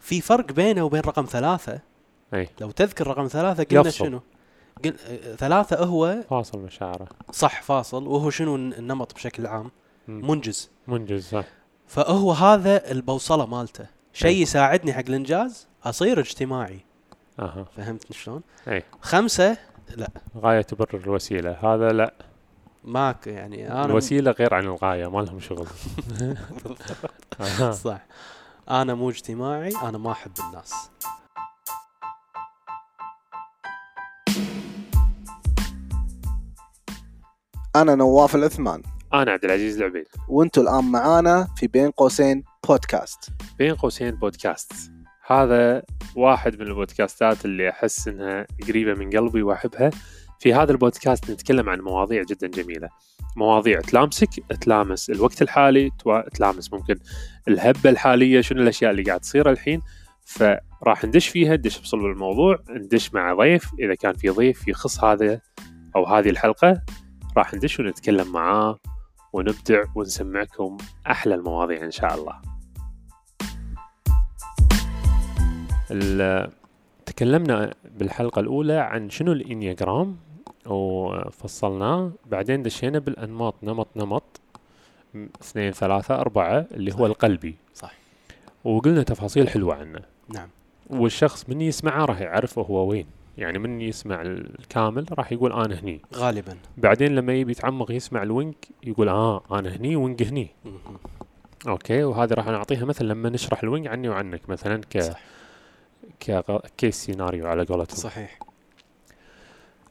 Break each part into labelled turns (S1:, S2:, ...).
S1: في فرق بينه وبين رقم ثلاثة
S2: اي
S1: لو تذكر رقم ثلاثة قلنا
S2: يفصل.
S1: شنو قل... آه، ثلاثة هو
S2: فاصل مشاعره
S1: صح فاصل وهو شنو النمط بشكل عام
S2: مم.
S1: منجز
S2: منجز صح
S1: فهو هذا البوصلة مالته شيء
S2: إيه.
S1: يساعدني حق الانجاز اصير اجتماعي
S2: اها
S1: فهمت شلون
S2: اي
S1: خمسة
S2: غايه تبرر الوسيله هذا لا
S1: ماك يعني انا
S2: الوسيله غير عن الغايه ما لهم شغل أها.
S1: صح انا مو اجتماعي انا ما احب الناس
S3: انا نواف العثمان
S2: انا عبد العزيز العبيد
S3: وانتوا الان معانا في بين قوسين بودكاست
S2: بين قوسين بودكاست هذا واحد من البودكاستات اللي احس انها قريبه من قلبي واحبها في هذا البودكاست نتكلم عن مواضيع جدا جميله مواضيع تلامسك تلامس الوقت الحالي توا- تلامس ممكن الهبه الحاليه شنو الاشياء اللي قاعد تصير الحين فراح ندش فيها ندش بصلب الموضوع ندش مع ضيف اذا كان في ضيف يخص هذا او هذه الحلقه راح ندش ونتكلم معاه ونبدع ونسمعكم احلى المواضيع ان شاء الله ال- تكلمنا بالحلقة الأولى عن شنو الإنياجرام وفصلناه بعدين دشينا بالأنماط نمط نمط م- اثنين ثلاثة أربعة اللي هو القلبي
S1: صح.
S2: وقلنا تفاصيل حلوة عنه
S1: نعم
S2: والشخص من يسمعه راح يعرف هو وين يعني من يسمع الكامل راح يقول أنا هني
S1: غالبا
S2: بعدين لما يبي يتعمق يسمع الوينك يقول آه أنا هني وينج هني
S1: مهم.
S2: اوكي وهذه راح نعطيها مثل لما نشرح الوينج عني وعنك مثلا ك
S1: صح.
S2: ك كيس سيناريو على قولتهم
S1: صحيح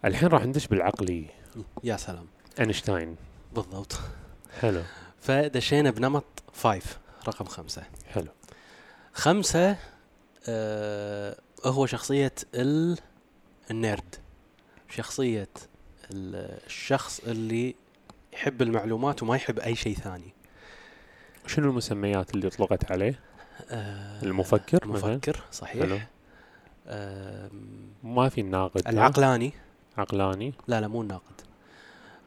S2: الحين راح ندش بالعقلي
S1: يا سلام
S2: اينشتاين
S1: بالضبط
S2: حلو
S1: فدشينا بنمط فايف رقم خمسة
S2: حلو
S1: خمسة آه هو شخصية ال... النيرد شخصية ال- الشخص اللي يحب المعلومات وما يحب أي شيء ثاني
S2: شنو المسميات اللي اطلقت عليه؟
S1: آه
S2: المفكر مثلا
S1: المفكر
S2: حلو
S1: صحيح آم،
S2: ما في الناقد ها؟
S1: العقلاني
S2: عقلاني
S1: لا لا مو الناقد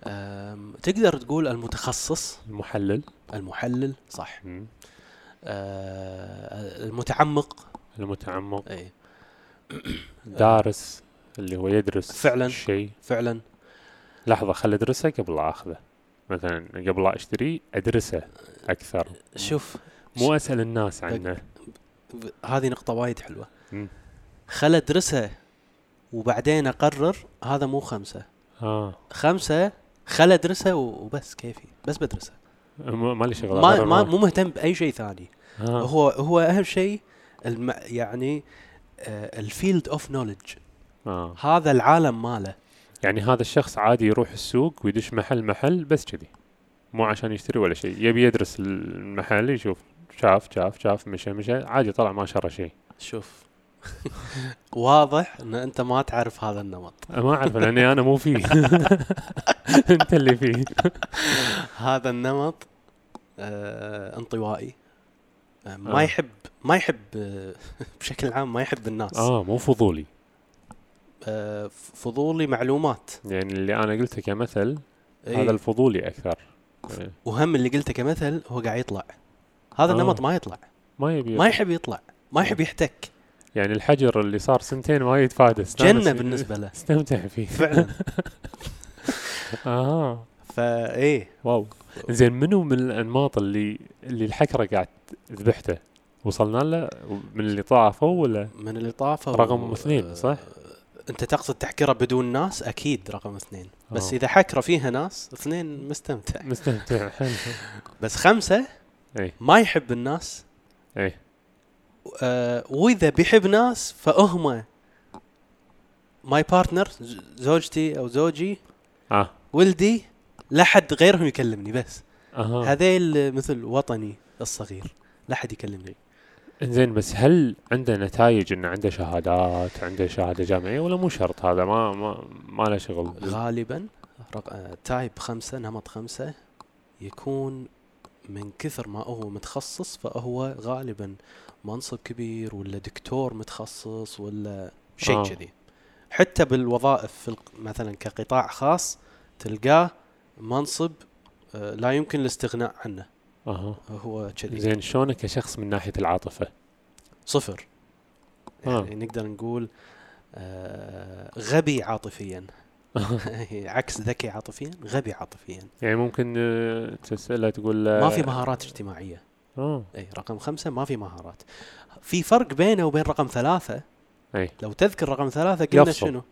S1: آم، تقدر تقول المتخصص
S2: المحلل
S1: المحلل صح
S2: مم.
S1: آه، المتعمق إيه،
S2: المتعمق
S1: اي
S2: دارس اللي هو يدرس
S1: فعلاً.
S2: شيء
S1: فعلا
S2: لحظه خل ادرسه قبل لا اخذه مثلا قبل لا اشتري ادرسه اكثر
S1: شوف
S2: مو اسال الناس عنه
S1: ب- هذه نقطة وايد حلوة
S2: مم.
S1: خل ادرسها وبعدين اقرر هذا مو خمسة
S2: اه
S1: خمسة خل ادرسها و- وبس كيفي بس بدرسها
S2: م- ما لي شغل
S1: ما, ما مو مهتم بأي شيء ثاني
S2: آه.
S1: هو هو أهم شيء الم يعني الفيلد اوف نولج
S2: آه.
S1: هذا العالم ماله
S2: يعني هذا الشخص عادي يروح السوق ويدش محل محل بس كذي مو عشان يشتري ولا شيء يبي يدرس المحل يشوف شاف شاف شاف مشى مشى عادي طلع ما شرى شيء
S1: شوف واضح ان انت ما تعرف هذا النمط
S2: ما اعرف لاني انا مو فيه انت اللي فيه
S1: هذا النمط آه انطوائي آه ما
S2: آه.
S1: يحب ما يحب آه، بشكل عام ما يحب الناس
S2: اه مو فضولي
S1: آه، ف- فضولي معلومات
S2: يعني اللي انا قلته كمثل
S1: إيه.
S2: هذا الفضولي اكثر إيه.
S1: وهم اللي قلته كمثل هو قاعد يطلع هذا
S2: آه.
S1: النمط ما يطلع
S2: ما يبي
S1: ما يحب يطلع ما يحب يحتك
S2: يعني الحجر اللي صار سنتين ما يتفادى استانس.
S1: جنة بالنسبة له
S2: استمتع فيه
S1: فعلا
S2: اه
S1: فايه
S2: واو زين منو من الانماط اللي اللي الحكره قاعد ذبحته وصلنا له من اللي طافوا ولا
S1: من اللي طافه
S2: رقم
S1: و-
S2: اثنين، صح؟
S1: آه، انت تقصد تحكره بدون ناس اكيد رقم اثنين بس
S2: آه.
S1: اذا حكره فيها ناس اثنين مستمتع
S2: مستمتع حلو.
S1: بس خمسه
S2: إيه.
S1: ما يحب الناس
S2: إيه.
S1: آه، واذا بيحب ناس فهم ماي بارتنر زوجتي او زوجي
S2: اه
S1: ولدي لا حد غيرهم يكلمني بس
S2: اها
S1: هذيل مثل وطني الصغير لا حد يكلمني
S2: زين بس هل عنده نتائج انه عنده شهادات عنده شهاده جامعيه ولا مو شرط هذا ما ما ما له شغل
S1: غالبا رق... آه، تايب خمسة نمط خمسة يكون من كثر ما هو متخصص فهو غالبا منصب كبير ولا دكتور متخصص ولا شيء
S2: آه.
S1: كذي حتى بالوظائف في الق- مثلا كقطاع خاص تلقاه منصب آه، لا يمكن الاستغناء عنه
S2: اها
S1: هو كذي
S2: زين شلونه كشخص من ناحيه العاطفه
S1: صفر
S2: آه.
S1: يعني نقدر نقول آه، غبي عاطفيا عكس ذكي عاطفيا غبي عاطفيا
S2: يعني ممكن آه، تسأله تقول له
S1: ما في مهارات اجتماعيه
S2: اه
S1: اي رقم خمسه ما في مهارات في فرق بينه وبين رقم ثلاثه
S2: أي.
S1: لو تذكر رقم ثلاثه قلنا
S2: يفصل.
S1: شنو؟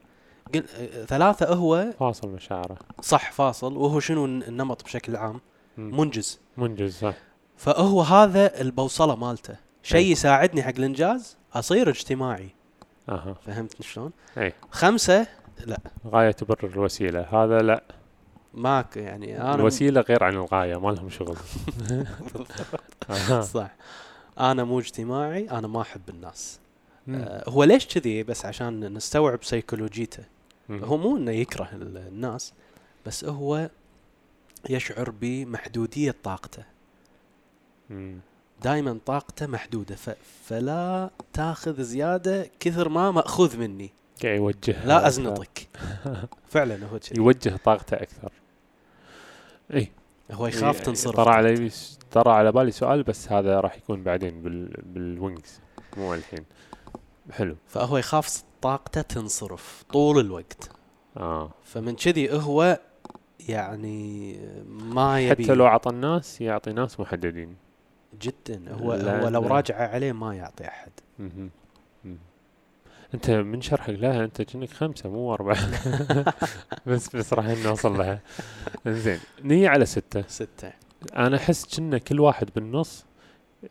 S1: قل... آه، ثلاثه هو
S2: فاصل مشاعره
S1: صح فاصل وهو شنو النمط بشكل عام؟
S2: مم.
S1: منجز
S2: منجز صح
S1: فهو هذا البوصله مالته شيء
S2: أي.
S1: يساعدني حق الانجاز اصير اجتماعي
S2: اها
S1: فهمت شلون
S2: أي.
S1: خمسه
S2: غاية تبرر الوسيلة هذا لا
S1: ماك يعني انا
S2: الوسيلة غير عن الغاية ما لهم شغل أها.
S1: صح انا مو اجتماعي انا ما احب الناس
S2: مم.
S1: آه هو ليش كذي بس عشان نستوعب سيكولوجيته
S2: مم.
S1: هو مو انه يكره ال- الناس بس هو يشعر بمحدوديه طاقته
S2: مم.
S1: دائما طاقته محدوده ف... فلا تاخذ زياده كثر ما ماخوذ مني
S2: قاعد يوجه
S1: لا ازنطك فعلا هو كذي
S2: يوجه طاقته اكثر اي
S1: هو يخاف تنصرف
S2: ترى علي ترى على بالي سؤال بس هذا راح يكون بعدين بال... بالوينجز مو الحين حلو
S1: فهو يخاف طاقته تنصرف طول الوقت
S2: اه
S1: فمن كذي هو يعني ما يبي
S2: حتى لو اعطى الناس يعطي ناس محددين
S1: جدا هو
S2: لا-
S1: هو لو
S2: لا.
S1: راجعه عليه ما يعطي احد
S2: مهم. مم. انت من شرحك لها انت كأنك خمسه مو اربعه بس بس راح نوصل لها زين نية على سته
S1: سته
S2: انا احس كنا كل واحد بالنص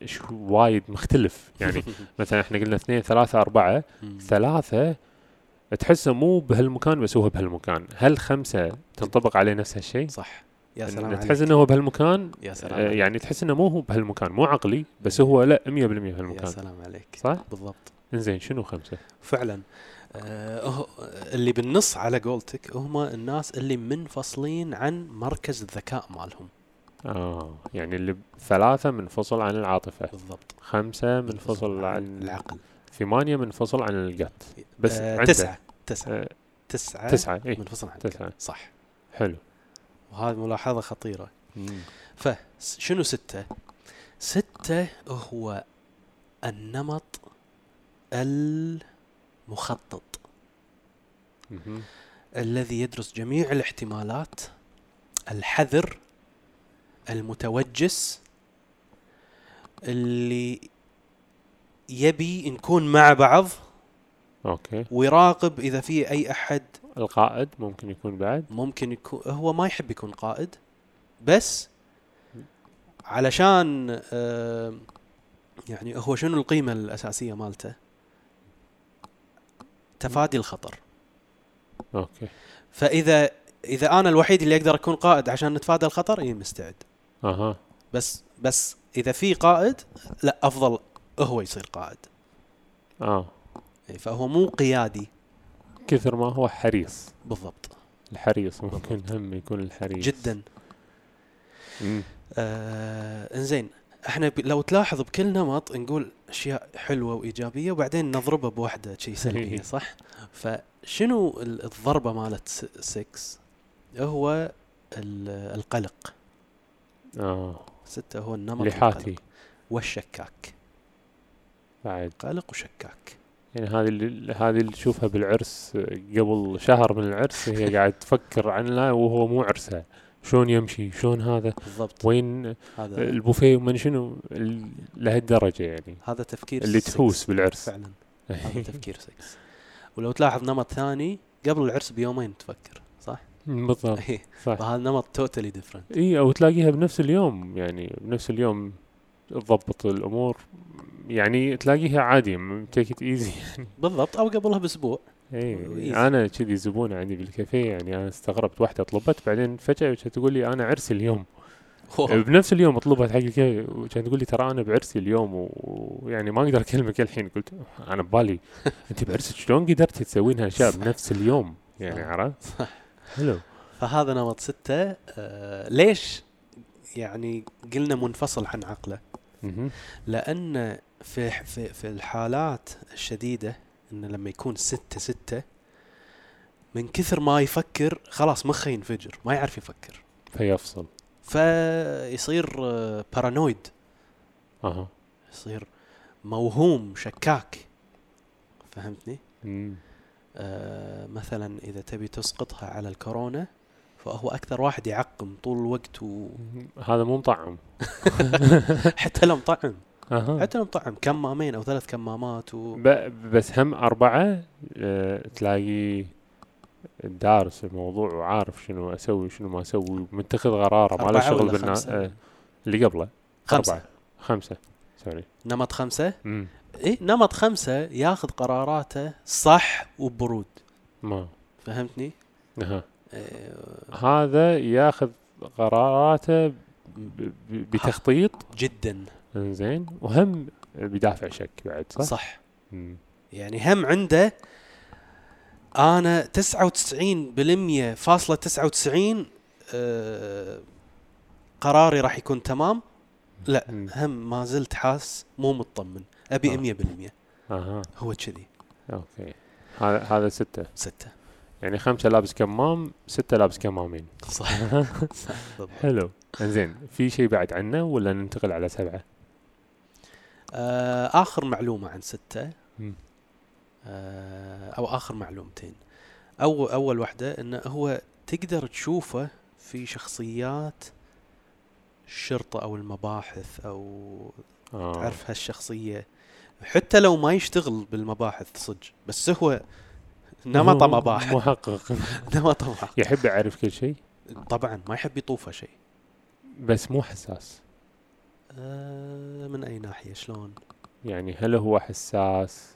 S2: شو- وايد مختلف يعني مثلا احنا قلنا اثنين ثلاثه اربعه
S1: مم.
S2: ثلاثة تحسه مو بهالمكان بس هو بهالمكان هل خمسة تنطبق عليه نفس هالشيء
S1: صح يا
S2: إن-
S1: سلام
S2: إن
S1: عليك
S2: يعني تحس انه هو بهالمكان
S1: يا سلام
S2: آه،
S1: عليك.
S2: يعني تحس انه مو هو بهالمكان مو عقلي بس هو لا 100%
S1: يا
S2: بهالمكان
S1: سلام عليك
S2: صح؟
S1: بالضبط
S2: انزين شنو خمسة؟
S1: فعلا آه هو- اللي بالنص على قولتك هم الناس اللي منفصلين عن مركز الذكاء مالهم
S2: اه يعني اللي ب- ثلاثة منفصل عن العاطفة
S1: بالضبط
S2: خمسة منفصل
S1: عن
S2: عن
S1: العقل
S2: ثمانية منفصل عن القط بس
S1: آه
S2: عنده.
S1: تسعه تسعه
S2: آه،
S1: تسعه
S2: تسعة اي
S1: منفصل عن
S2: تسعة.
S1: الكل. صح
S2: حلو
S1: وهذه ملاحظه خطيره فشنو ستة؟ ستة هو النمط المخطط
S2: مهم.
S1: الذي يدرس جميع الاحتمالات الحذر المتوجس اللي يبي نكون مع بعض
S2: اوكي
S1: ويراقب اذا في اي احد
S2: القائد ممكن يكون بعد
S1: ممكن يكون هو ما يحب يكون قائد بس علشان آه، يعني هو شنو القيمة الأساسية مالته؟ تفادي الخطر
S2: اوكي
S1: فإذا إذا أنا الوحيد اللي أقدر أكون قائد عشان نتفادى الخطر إيه مستعد
S2: اها
S1: بس بس إذا في قائد لا أفضل هو يصير قائد
S2: اه
S1: إيه، فهو مو قيادي
S2: كثر ما هو حريص
S1: بالضبط
S2: الحريص ممكن هم يكون الحريص
S1: جدا
S2: مم.
S1: آه انزين احنا ب... لو تلاحظ بكل نمط نقول اشياء حلوه وايجابيه وبعدين نضربها بوحده شيء سلبيه صح؟ فشنو ال- الضربه مالت 6 هو ال- القلق
S2: اه
S1: ستة هو النمط
S2: لحاتي
S1: القلق والشكاك
S2: بعد
S1: قلق وشكاك
S2: يعني هذه اللي هذه اللي تشوفها بالعرس آه، قبل شهر من العرس هي قاعد تفكر عنها وهو مو عرسها شلون يمشي شلون هذا
S1: بالضبط
S2: وين آه،
S1: هذا
S2: البوفيه ومن شنو ال- لهالدرجه يعني
S1: هذا تفكير
S2: اللي
S1: six.
S2: تحوس بالعرس
S1: فعلا هذا تفكير 6 ولو تلاحظ نمط ثاني قبل العرس بيومين تفكر صح؟
S2: بالضبط صح
S1: فهذا نمط توتالي ديفرنت
S2: اي او تلاقيها بنفس اليوم يعني بنفس اليوم تضبط الامور يعني تلاقيها عادي تيك ات ايزي
S1: بالضبط او قبلها باسبوع
S2: اي
S1: وإيزي.
S2: انا كذي زبون عندي بالكافيه يعني انا استغربت واحده طلبت بعدين فجاه كانت تقول لي انا عرسي اليوم بنفس اليوم طلبت حق الكافيه وكانت تقول لي ترى انا بعرسي اليوم و- ويعني ما اقدر اكلمك الحين قلت انا ببالي انت بعرسك شلون قدرتي تسوين هالاشياء
S1: صح.
S2: بنفس اليوم يعني
S1: صح.
S2: عرفت؟
S1: صح.
S2: حلو
S1: فهذا نمط ستة آه ليش يعني قلنا منفصل عن عقله
S2: مهم.
S1: لأن في, في, في الحالات الشديدة أن لما يكون ستة ستة من كثر ما يفكر خلاص مخه ينفجر ما يعرف يفكر
S2: فيفصل
S1: فيصير آه، بارانويد
S2: اها
S1: يصير موهوم شكاك فهمتني؟
S2: مم.
S1: آه مثلا اذا تبي تسقطها على الكورونا فهو اكثر واحد يعقم طول الوقت
S2: هذا مو مطعم
S1: وحتى لو مطعم
S2: أها.
S1: حتى لو مطعم كمامين او ثلاث كمامات و...
S2: ب- بس هم أربعة آه، تلاقي دارس الموضوع وعارف شنو أسوي شنو ما أسوي متخذ قراره ما له
S1: أربعة
S2: شغل
S1: ولا
S2: بالناس
S1: خمسة؟
S2: آه، اللي قبله
S1: خمسة
S2: أربعة. خمسة سوري
S1: نمط خمسة
S2: مم.
S1: اي نمط خمسة ياخذ قراراته صح وبرود
S2: ما
S1: فهمتني؟
S2: أها.
S1: آه،
S2: هذا ياخذ قراراته ب- ب- بتخطيط
S1: جدا
S2: زين وهم بدافع شك بعد صح؟
S1: صح
S2: مم.
S1: يعني هم عنده انا 99% فاصلة 99 آه، قراري راح يكون تمام لا
S2: مم.
S1: هم ما زلت حاس مو مطمن
S2: آه.
S1: ابي 100%
S2: اها
S1: هو كذي
S2: اوكي هذا هذا ستة
S1: ستة
S2: يعني خمسة لابس كمام ستة لابس كمامين
S1: صح صح بالضبط.
S2: حلو زين في شيء بعد عنه ولا ننتقل على سبعة؟
S1: آه، اخر معلومة عن ستة
S2: مم.
S1: آه، او اخر معلومتين او اول واحدة انه هو تقدر تشوفه في شخصيات الشرطة او المباحث او
S2: آه.
S1: تعرف هالشخصية حتى لو ما يشتغل بالمباحث صدق بس هو نمطه
S2: مو-
S1: مباحث
S2: محقق
S1: نمطه مباحث
S2: يحب يعرف كل شيء
S1: طبعا ما يحب يطوفه شيء
S2: بس مو حساس
S1: آه، من اي ناحية شلون
S2: يعني هل هو حساس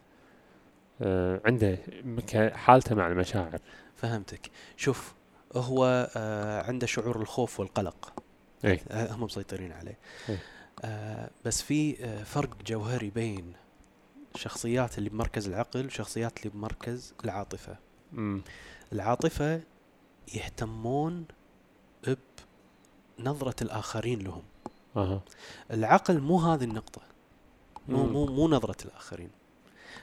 S2: آه عنده مك- حالته مع المشاعر
S1: فهمتك شوف هو آه، عنده شعور الخوف والقلق
S2: اي
S1: آه، هم مسيطرين عليه
S2: إيه.
S1: آه، بس في آه، فرق جوهري بين الشخصيات اللي بمركز العقل والشخصيات اللي بمركز العاطفة
S2: مم.
S1: العاطفة يهتمون بنظرة الآخرين لهم
S2: اها
S1: العقل مو هذه النقطة مو
S2: مم.
S1: مو مو نظرة الآخرين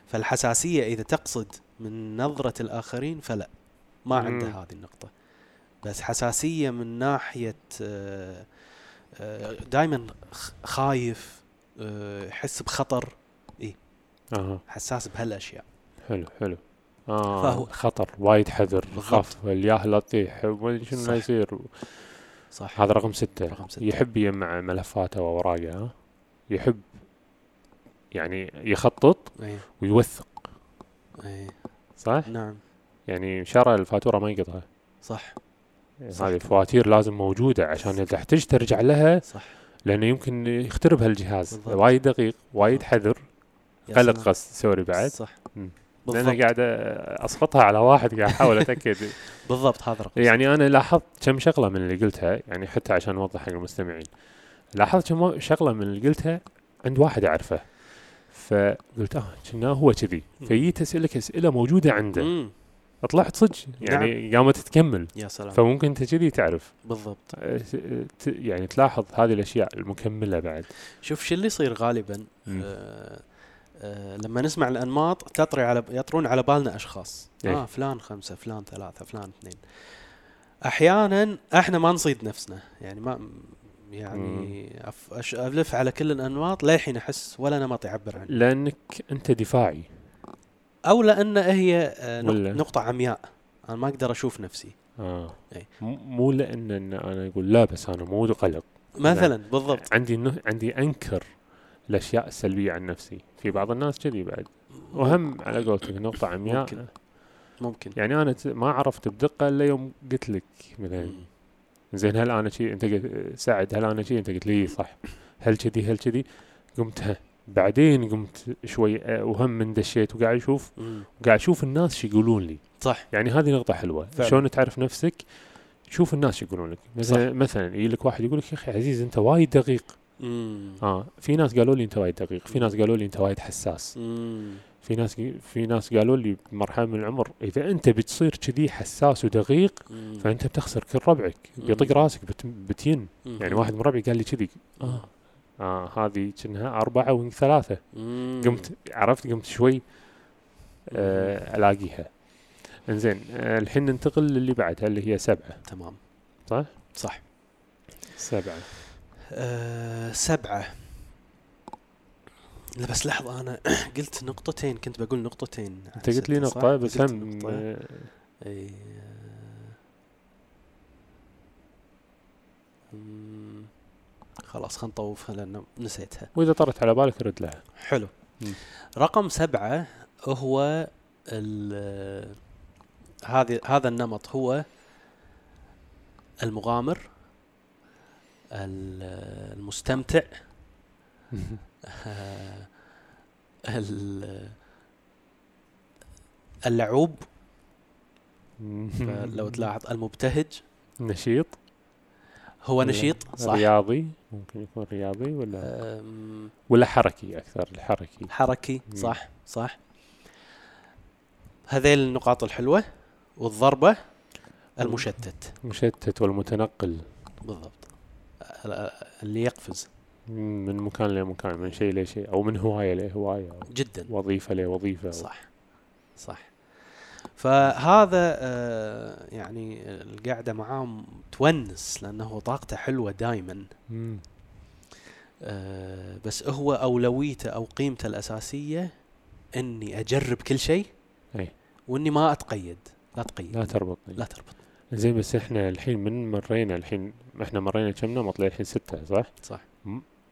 S1: فالحساسية إذا تقصد من نظرة الآخرين فلا ما
S2: مم.
S1: عنده هذه النقطة بس حساسية من ناحية آه، دائما خايف آه، يحس بخطر
S2: اها
S1: حساس بهالأشياء
S2: حلو حلو آه
S1: فهو-
S2: خطر وايد حذر
S1: بالضبط.
S2: خاف والياهله تطيح وما شنو
S1: صح.
S2: ما يصير
S1: صح
S2: هذا رقم ستة.
S1: رقم ستة.
S2: يحب يجمع ملفاته واوراقه ها يحب يعني يخطط
S1: أي.
S2: ويوثق
S1: أي.
S2: صح؟
S1: إيه، نعم
S2: يعني شرى الفاتوره ما يقطها
S1: صح صح.
S2: هذه الفواتير لازم موجوده عشان اذا احتج ترجع لها
S1: صح
S2: لانه يمكن يخترب هالجهاز
S1: بالضبط.
S2: وايد دقيق وايد
S1: بالضبط.
S2: حذر
S1: يا
S2: قلق
S1: سلام.
S2: قصد سوري بعد
S1: صح
S2: مم. لان
S1: بالضبط
S2: قاعد اسقطها على واحد قاعد احاول اتاكد
S1: بالضبط هذا رقم
S2: يعني انا لاحظت كم شغله من اللي قلتها يعني حتى عشان اوضح حق المستمعين لاحظت كم شغله من اللي قلتها عند واحد اعرفه فقلت اه كنا هو كذي
S1: مم.
S2: فجيت اسالك اسئله موجوده عنده
S1: مم. نعم.
S2: طلعت صدق يعني قامت تكمل
S1: يا سلام
S2: آه. فممكن انت كذي تعرف
S1: بالضبط
S2: أه، ت- يعني تلاحظ هذه الاشياء المكمله بعد
S1: شوف شو اللي يصير غالبا
S2: مم.
S1: آه آه لما نسمع الانماط تطري على يطرون على بالنا اشخاص
S2: إيه.
S1: اه فلان خمسه فلان ثلاثه فلان اثنين احيانا احنا ما نصيد نفسنا يعني ما يعني أف- أش- الف على كل الانماط للحين احس ولا نمط يعبر عنه
S2: لانك انت دفاعي
S1: او لان هي آه، نق-
S2: ولا؟
S1: نقطه عمياء انا ما اقدر اشوف نفسي
S2: اه
S1: إيه.
S2: م- مو لان إن انا اقول لا بس انا مو قلق
S1: مثلا بالضبط
S2: عندي نه- عندي انكر الاشياء السلبيه عن نفسي في بعض الناس كذي بعد وهم على قولتك
S1: ممكن.
S2: نقطه عمياء
S1: ممكن
S2: يعني انا ت- ما عرفت بدقه الا يوم قلت لك مثلا
S1: مم.
S2: زين هل انا شي انت قلت سعد هل انا شي انت قلت لي إي صح هل كذي هل كذي قمت ها. بعدين قمت شوي أه، وهم من دشيت وقاعد اشوف
S1: مم.
S2: قاعد اشوف الناس شو يقولون لي
S1: صح
S2: يعني هذه نقطه حلوه
S1: فعلا.
S2: شلون تعرف نفسك شوف الناس شو يقولون لك مثلا مثلا يجي لك واحد يقول لك يا اخي عزيز انت وايد دقيق
S1: مم.
S2: اه في ناس قالوا لي انت وايد دقيق في ناس قالوا لي انت وايد حساس
S1: مم.
S2: في ناس في ناس قالوا لي بمرحله من العمر اذا انت بتصير كذي حساس ودقيق
S1: مم.
S2: فانت بتخسر كل ربعك بيطق
S1: مم.
S2: راسك بت- بتين
S1: مم.
S2: يعني واحد من ربعي قال لي كذي
S1: آه.
S2: اه اه هذه كأنها أربعة وين ثلاثة
S1: مم.
S2: قمت عرفت قمت شوي آه ألاقيها انزين آه الحين ننتقل للي بعدها اللي هي سبعة
S1: تمام
S2: صح؟
S1: صح
S2: سبعة
S1: أه سبعة لا بس لحظه انا قلت نقطتين كنت بقول نقطتين عن
S2: انت قلت لي
S1: ستة، صح؟
S2: نقطة بس
S1: قلت
S2: هم
S1: نقطة.
S2: آه،
S1: اي آه، أمم، خلاص خلنا نطوفها لانه نسيتها
S2: واذا طرت على بالك رد لها
S1: حلو
S2: مم.
S1: رقم سبعة هو ال هذه هذا النمط هو المغامر ال- المستمتع آه، ال- اللعوب لو تلاحظ المبتهج
S2: نشيط
S1: هو
S2: ولا-
S1: نشيط صح
S2: رياضي ممكن يكون رياضي ولا
S1: أم،
S2: ولا حركي اكثر الحركي
S1: حركي
S2: مم.
S1: صح صح هذيل النقاط الحلوة والضربة المشتت
S2: مشتت والمتنقل
S1: بالضبط ال- اللي يقفز
S2: من مكان لمكان من شيء لشيء او من هوايه لهوايه أو
S1: جدا
S2: وظيفه لوظيفه
S1: صح صح فهذا آه، يعني القعدة معاه تونس لأنه طاقته حلوة دايما
S2: مم.
S1: آه، بس هو أولويته أو قيمته الأساسية إني أجرب كل شيء
S2: أي.
S1: وإني ما أتقيد لا أتقيد
S2: لا تربط
S1: لا تربط
S2: زين بس احنا الحين من مرينا الحين احنا مرينا كم نمط للحين سته صح؟
S1: صح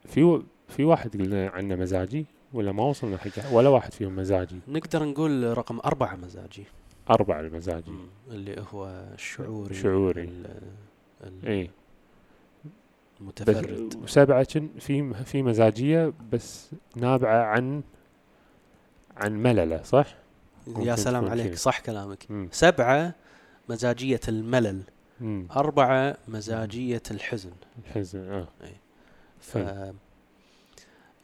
S2: في و... في واحد قلنا عنه مزاجي ولا ما وصلنا حق ولا واحد فيهم مزاجي
S1: نقدر نقول رقم أربعة مزاجي
S2: اربعه المزاجي
S1: مم. اللي هو الشعوري
S2: شعوري.
S1: ال- ال-
S2: اي إيه، بس
S1: المتفرد
S2: وسبعه كن في في مزاجيه بس نابعه عن عن ملله صح؟
S1: يا
S2: ممكن
S1: سلام
S2: تكون
S1: عليك
S2: كذي.
S1: صح كلامك
S2: مم.
S1: سبعة مزاجية الملل
S2: مم.
S1: أربعة مزاجية الحزن
S2: الحزن اه
S1: ف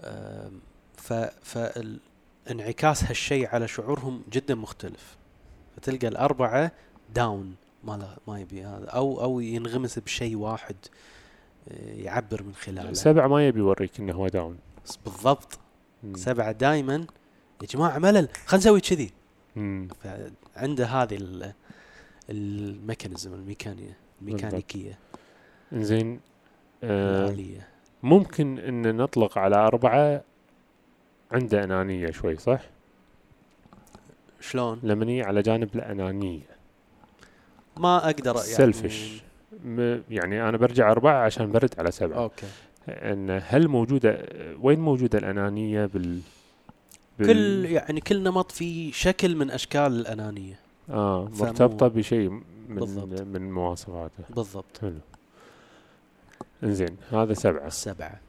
S1: آم، ف فال- انعكاس هالشيء على شعورهم جدا مختلف فتلقى الأربعة داون ما لا ما يبي هذا أو أو ينغمس بشيء واحد آه، يعبر من خلاله
S2: سبعه ما يبي يوريك انه هو داون
S1: بالضبط
S2: مم.
S1: سبعة دائما يا جماعة ملل خلينا نسوي كذي
S2: مم.
S1: عنده هذه ال- الميكانيزم الميكانية
S2: بالضبط.
S1: الميكانيكية
S2: زين آه
S1: الآلية
S2: ممكن ان نطلق على اربعه عنده انانيه شوي صح؟
S1: شلون؟
S2: لما نيجي على جانب الانانيه
S1: ما أقدر يعني
S2: سيلفش م- يعني انا برجع اربعه عشان برد على سبعه
S1: أوكي
S2: ان هل موجوده وين موجوده الانانيه بال, بال...
S1: كل يعني كل نمط فيه شكل من أشكال الأنانية
S2: اه
S1: فمو-
S2: مرتبطه بشيء من
S1: بالضبط.
S2: من مواصفاته
S1: بالضبط
S2: حلو انزين هذا سبعه
S1: السبعة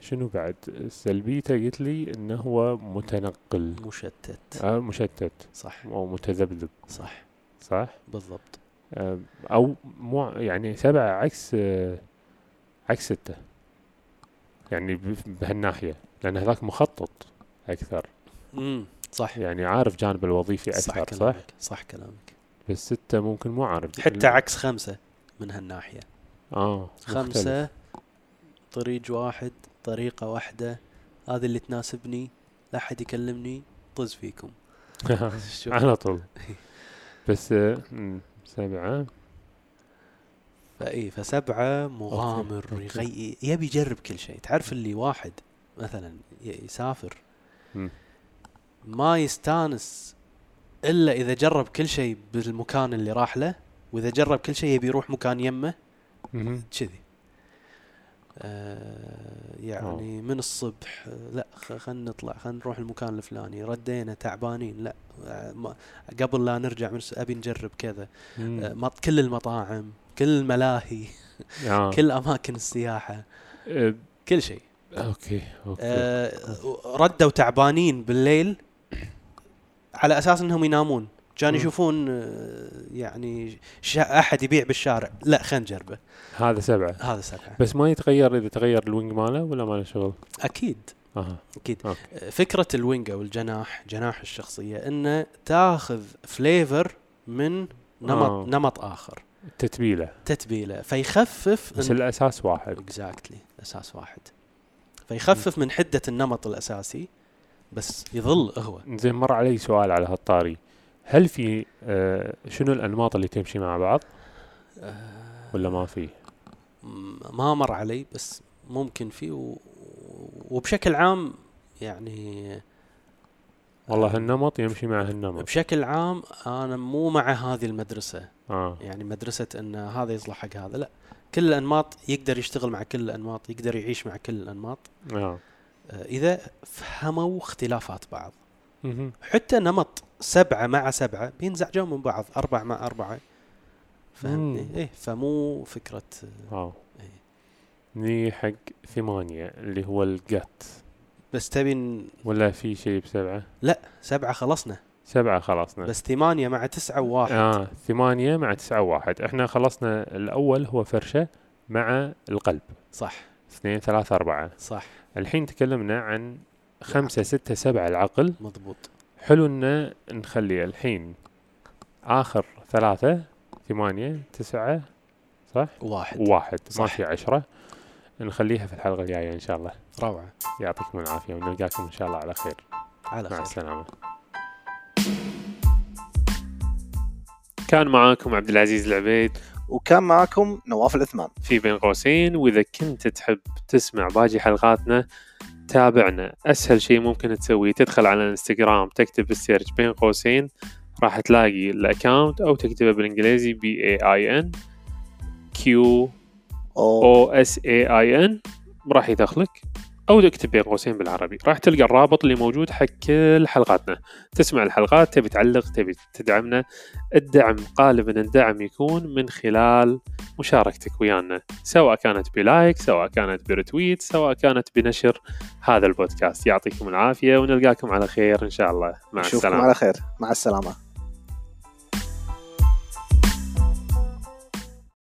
S2: شنو بعد سلبيته قلت لي انه هو متنقل
S1: مشتت
S2: آه مشتت
S1: صح
S2: او متذبذب
S1: صح
S2: صح
S1: بالضبط
S2: آه، او مو يعني سبعة عكس آه، عكس ستة يعني ب- بهالناحية لأن هذاك مخطط أكثر
S1: امم صح
S2: يعني عارف جانب الوظيفي
S1: صح
S2: يعني أكثر صح,
S1: كلامك صح كلامك
S2: بس ستة ممكن مو عارف
S1: حتى عكس خمسة من هالناحية
S2: آه مختلف.
S1: خمسة طريق واحد طريقة واحدة هذه اللي تناسبني لا حد يكلمني طز فيكم شوف
S2: على طول بس آه، مم، سبعة
S1: فاي فسبعة مغامر
S2: أوكي، أوكي.
S1: يغي... يبي يجرب كل شيء تعرف اللي واحد مثلا ي- يسافر
S2: مم.
S1: ما يستانس الا اذا جرب كل شيء بالمكان اللي راح له واذا جرب كل شيء يبي يروح مكان يمه
S2: مهم.
S1: كذي آه يعني من الصبح آه، لا خ- خلينا نطلع خلينا نروح المكان الفلاني ردينا تعبانين لا آه، ما قبل لا نرجع من الس- ابي نجرب كذا
S2: مم.
S1: آه مط- كل المطاعم كل الملاهي
S2: آه.
S1: كل اماكن السياحه
S2: آه،
S1: كل شيء
S2: أوكي أوكي
S1: آه ردوا تعبانين بالليل على اساس انهم ينامون كان
S2: مم.
S1: يشوفون آه، يعني شا احد يبيع بالشارع لا خلينا نجربه
S2: هذا سبعة
S1: هذا سبعه
S2: بس ما يتغير إذا تغير الوينج ماله ولا ماله شغل
S1: اكيد
S2: آه.
S1: اكيد
S2: أوكي.
S1: آه، فكره الوينج او الجناح جناح الشخصيه انه تاخذ فليفر من نمط
S2: آه.
S1: نمط اخر
S2: تتبيله
S1: تتبيله فيخفف
S2: بس
S1: إن-
S2: الأساس واحد
S1: اكزاكتلي اساس واحد فيخفف من حده النمط الاساسي بس يظل هو
S2: زين مر علي سؤال على هالطاري هل في آه شنو الانماط اللي تمشي مع بعض
S1: آه،
S2: ولا ما في؟
S1: م- ما مر علي بس ممكن فيه و... وبشكل عام يعني
S2: والله النمط يمشي مع النمط
S1: بشكل عام انا مو مع هذه المدرسه
S2: اه
S1: يعني مدرسه ان هذا يصلح حق هذا لا كل الانماط يقدر يشتغل مع كل الانماط يقدر يعيش مع كل الانماط
S2: اه
S1: آه، اذا فهموا اختلافات بعض
S2: مهم.
S1: حتى نمط سبعة مع سبعة بينزعجون من بعض أربعة مع أربعة
S2: مم.
S1: فهمتني؟ إيه فمو فكرة
S2: واو
S1: إيه.
S2: ني حق ثمانية اللي هو الجت
S1: بس تبي ن-
S2: ولا في شيء بسبعة
S1: سبعة خلصنا
S2: سبعة خلصنا
S1: بس ثمانية مع تسعة وواحد
S2: اه ثمانية مع تسعة واحد احنا خلصنا الأول هو فرشة مع القلب
S1: صح
S2: اثنين ثلاثة أربعة
S1: صح
S2: الحين تكلمنا عن خمسة ستة سبعة العقل
S1: مضبوط
S2: حلو ان نخلي الحين آخر ثلاثة ثمانية تسعة
S1: واحد
S2: واحد ما
S1: صح.
S2: في عشرة نخليها في الحلقة الجاية إن شاء الله
S1: روعة
S2: يعطيكم العافية ونلقاكم إن شاء الله على خير
S1: على
S2: مع
S1: خير
S2: السلامة كان معاكم عبد العزيز العبيد
S3: وكان معكم نواف العثمان
S2: في بين قوسين واذا كنت تحب تسمع باقي حلقاتنا تابعنا اسهل شيء ممكن تسويه تدخل على الانستغرام تكتب بالسيرش بين قوسين راح تلاقي الاكونت او تكتبه بالانجليزي بي اي اي ان كيو
S3: أو
S2: او اس اي اي ان راح يدخلك او تكتب بين قوسين بالعربي راح تلقى الرابط اللي موجود حق كل حلقاتنا تسمع الحلقات تبي تعلق تبي تدعمنا الدعم غالبا الدعم يكون من خلال مشاركتك ويانا سواء كانت بلايك سواء كانت برتويت سواء كانت بنشر هذا البودكاست يعطيكم العافيه ونلقاكم على خير ان شاء الله مع
S3: نشوفكم
S2: السلامه
S3: على خير مع السلامة